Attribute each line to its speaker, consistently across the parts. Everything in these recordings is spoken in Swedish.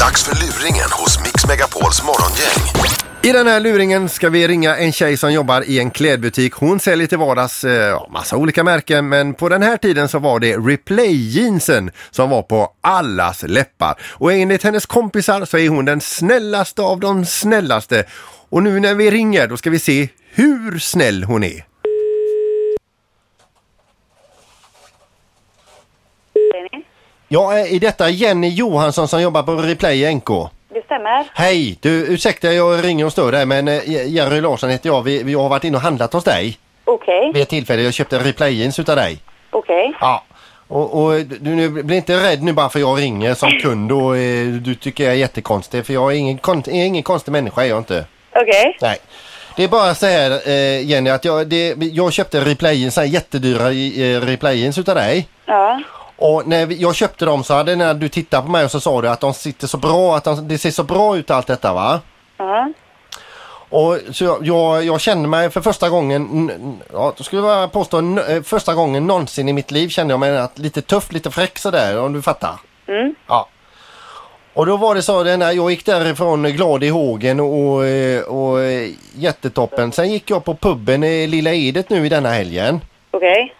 Speaker 1: Dags för luringen hos Mix Megapols morgongäng.
Speaker 2: I den här luringen ska vi ringa en tjej som jobbar i en klädbutik. Hon säljer till vardags eh, ja, massa olika märken men på den här tiden så var det replay-jeansen som var på allas läppar. Och enligt hennes kompisar så är hon den snällaste av de snällaste. Och nu när vi ringer då ska vi se hur snäll hon är. Ja, eh, är detta Jenny Johansson som jobbar på Replay NK?
Speaker 3: Det stämmer.
Speaker 2: Hej! Du, ursäkta jag ringer och stör dig men eh, Jerry Larsson heter jag. Vi, vi har varit inne och handlat hos dig
Speaker 3: Okej,
Speaker 2: vid ett tillfälle. Jag köpte replay-jeans utav dig.
Speaker 3: okej.
Speaker 2: Ja. Och, och du nu, blir inte rädd nu bara för jag ringer som kund och eh, du tycker jag är jättekonstig för jag är ingen, kon, är ingen konstig människa är jag inte.
Speaker 3: Okej.
Speaker 2: Nej. Det är bara så här eh, Jenny att jag, det, jag köpte replay-jeans, så här jättedyra eh, replay-jeans utav dig.
Speaker 3: Ja.
Speaker 2: Och när vi- jag köpte dem så hade när du tittade på mig och så sa du att de sitter så bra, att de, det ser så bra ut allt detta va?
Speaker 3: Ja.
Speaker 2: Och så jag, jag, jag kände mig för första gången, n- n- ja, då skulle jag påstå n- eh, första gången någonsin i mitt liv kände jag mig att lite tuff, lite fräck sådär om du fattar. Ja. Och då var det så, den här, jag gick därifrån glad i hågen och, och, eh, och eh, jättetoppen. Sen gick jag på puben i Lilla Edet nu i denna helgen.
Speaker 3: Okej.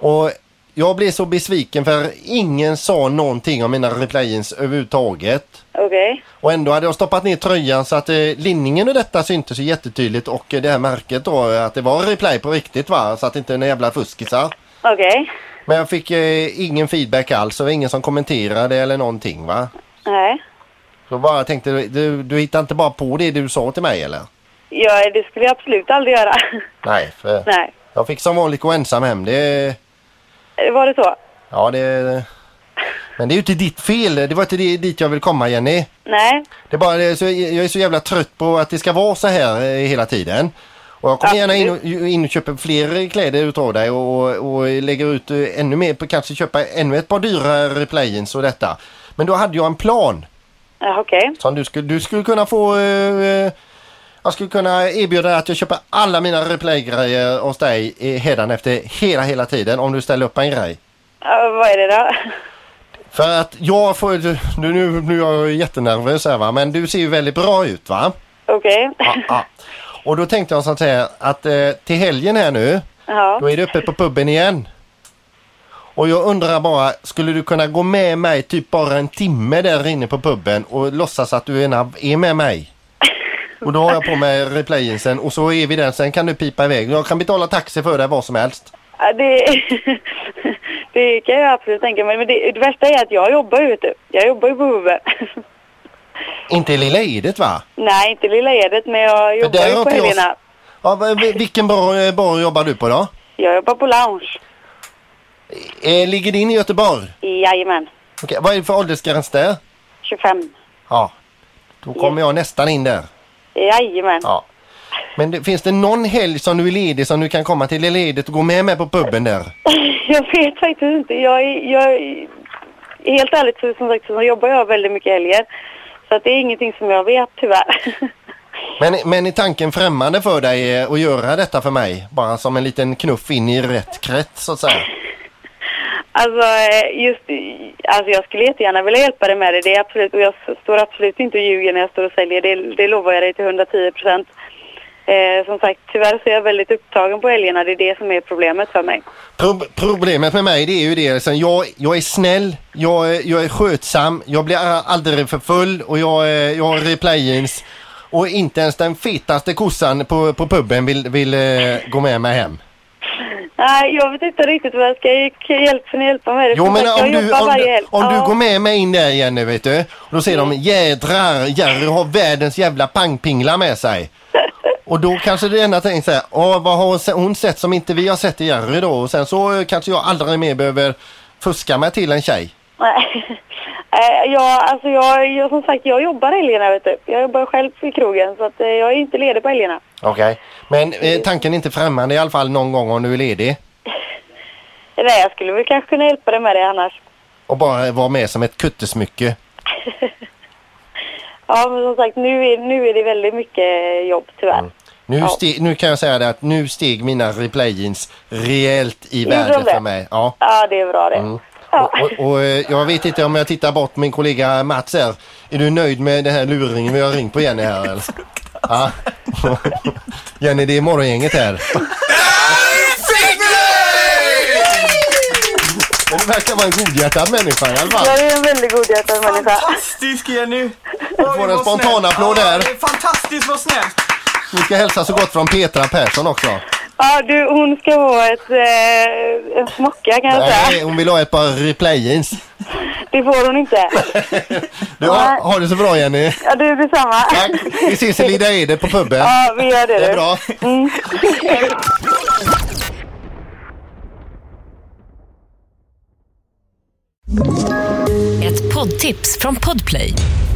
Speaker 2: Och jag blev så besviken för ingen sa någonting om mina replay-ins överhuvudtaget.
Speaker 3: Okej.
Speaker 2: Och ändå hade jag stoppat ner tröjan så att eh, linningen och detta syntes ju jättetydligt och eh, det här märket då eh, att det var replay på riktigt va så att inte några jävla fuskisar.
Speaker 3: Okej.
Speaker 2: Men jag fick eh, ingen feedback alls och det var ingen som kommenterade eller någonting va.
Speaker 3: Nej.
Speaker 2: Så bara tänkte du, du hittar inte bara på det du sa till mig eller?
Speaker 3: Ja, det skulle jag absolut aldrig göra.
Speaker 2: Nej, för
Speaker 3: Nej.
Speaker 2: jag fick som vanligt gå ensam hem. Det,
Speaker 3: Var det så?
Speaker 2: ja det... Men det är ju inte ditt fel. Det var inte det, dit jag vill komma Jenny.
Speaker 3: Nej.
Speaker 2: Det är bara, det är så, jag är så jävla trött på att det ska vara så här eh, hela tiden. Och jag kommer gärna in och, in och köper fler kläder utav dig och, och, och lägger ut eh, ännu mer, på kanske köpa ännu ett par dyra replay-jeans och detta. Men då hade jag en plan
Speaker 3: Ja, Okej.
Speaker 2: som du skulle, du skulle kunna få... eh, eh, jag skulle kunna erbjuda dig att jag köper alla mina replay-grejer hos dig eh, efter hela, hela tiden om du ställer upp en grej.
Speaker 3: Ja, Vad är det då?
Speaker 2: För att jag får... Nu, nu, nu är jag jättenervös här va, men du ser ju väldigt bra ut va?
Speaker 3: Okej.
Speaker 2: Ja, ja. Och då tänkte jag så att säga att eh, till helgen här nu,
Speaker 3: Ja.
Speaker 2: då är det öppet på puben igen. Och jag undrar bara, skulle du kunna gå med mig typ bara en timme där inne på puben och låtsas att du är är med mig? Och då har jag på mig replayinsen och så är vi där, sen kan du pipa iväg. Jag kan betala taxi för dig vad som helst.
Speaker 3: Ja, Det, det kan jag absolut tänka mig. Men det, det värsta är att jag jobbar ju, vet du. Jag jobbar ju på huvudet.
Speaker 2: Inte i Lilla Edet va?
Speaker 3: Nej, inte Lilla Edet, men jag
Speaker 2: där
Speaker 3: jobbar
Speaker 2: har
Speaker 3: ju på
Speaker 2: inte jag-
Speaker 3: helgerna.
Speaker 2: Ja, va- vi- vilken bar, eh, bar jobbar du på då?
Speaker 3: Jag jobbar på lounge.
Speaker 2: Eh, ligger din i Göteborg?
Speaker 3: Jajamän.
Speaker 2: Okej, vad är det för åldersgräns där?
Speaker 3: 25.
Speaker 2: Ja, då kommer jag nästan in där.
Speaker 3: Jajamän.
Speaker 2: Ja. Men det, finns det någon helg som du är ledig som du kan komma till Lilla Edet och gå med mig på puben där?
Speaker 3: Jag vet faktiskt inte. Jag, är- jag, är- helt ärligt så, som sagt, så jobbar jag väldigt mycket helger. Så att det är ingenting som jag vet tyvärr.
Speaker 2: Men, men är tanken främmande för dig eh, att göra detta för mig? Bara som en liten knuff in i rätt krets så att säga.
Speaker 3: Alltså, eh, just, alltså jag skulle jättegärna vilja hjälpa dig med det. det är absolut, och jag s- står absolut inte och ljuger när jag står och säljer. Det, det lovar jag dig till 110 procent. Eh, som sagt, tyvärr så är jag väldigt upptagen på helgerna. Det är det som är problemet för mig.
Speaker 2: Pro- problemet med mig det är ju det, liksom, jag, jag är snäll, jag, är- jag är skötsam, jag blir a- aldrig för full och jag, är- jag har replay-jeans. Och inte ens den fetaste kossan på, på puben vill, vill eh, gå med mig hem.
Speaker 3: Nej, jag vet inte riktigt vad jag ska hjälpa, hjälpa med det.
Speaker 2: Jo
Speaker 3: Som
Speaker 2: men
Speaker 3: sagt,
Speaker 2: om
Speaker 3: jag
Speaker 2: du,
Speaker 3: jobbar
Speaker 2: om,
Speaker 3: varje helg.
Speaker 2: du- om
Speaker 3: Ja. Mm.
Speaker 2: du går med mig in där igen nu vet du. Då ser de jädrar Jerry har världens jävla pangpingla med sig. Och då kanske det enda tänker så här, åh vad har hon se- hon sett som inte vi har sett i Jerry då? Och sen så eh, kanske jag aldrig mer behöver fuska mig till en tjej.
Speaker 3: Nej. Eh, Ja, alltså jag, jag, som sagt, jag jobbar helgerna. Vet du. Jag jobbar själv i krogen, så att, eh, jag är inte ledig på helgerna.
Speaker 2: Okej. Men eh, tanken är inte främmande i alla fall någon gång om du är ledig.
Speaker 3: Nej, jag skulle väl kanske kunna hjälpa dig med det annars.
Speaker 2: Och bara vara med som ett kuttesmycke.
Speaker 3: Ja, men som sagt, nu är, nu är det väldigt mycket jobb tyvärr.
Speaker 2: Nu,
Speaker 3: Ja.
Speaker 2: ste- nu kan jag säga det att nu steg mina replay-jeans rejält i
Speaker 3: Gjorde de
Speaker 2: värde
Speaker 3: det?
Speaker 2: för mig. Ja.
Speaker 3: Ja, det är bra det. Ja.
Speaker 2: Mm. Och, och, och, eh, jag vet inte om jag tittar bort min kollega Mats här. Är du nöjd med den här luringen vi har ringt på Jenny här eller? Ja. Jenny det är morgongänget här. Men du verkar vara en godhjärtad människa i alla fall.
Speaker 3: Jag är en väldigt godhjärtad människa.
Speaker 4: Fantastisk Jenny! Du
Speaker 2: får en spontan applåd där.
Speaker 4: Fantastiskt vad snällt!
Speaker 2: Vi ska hälsa så gott från Petra Persson också.
Speaker 3: Ja, du, hon ska ha ett, eh, en smocka kan jag
Speaker 2: Nej,
Speaker 3: säga.
Speaker 2: Eh, hon vill ha ett par replay jeans.
Speaker 3: Det får hon inte.
Speaker 2: Du, ha, ha det så bra Jenny.
Speaker 3: Ja, du, detsamma.
Speaker 2: Tack. Vi ses i Lilla Ede på puben.
Speaker 3: Ja, vi gör det. Mm.
Speaker 2: Det
Speaker 3: du.
Speaker 2: är bra.
Speaker 5: Ett poddtips från Podplay.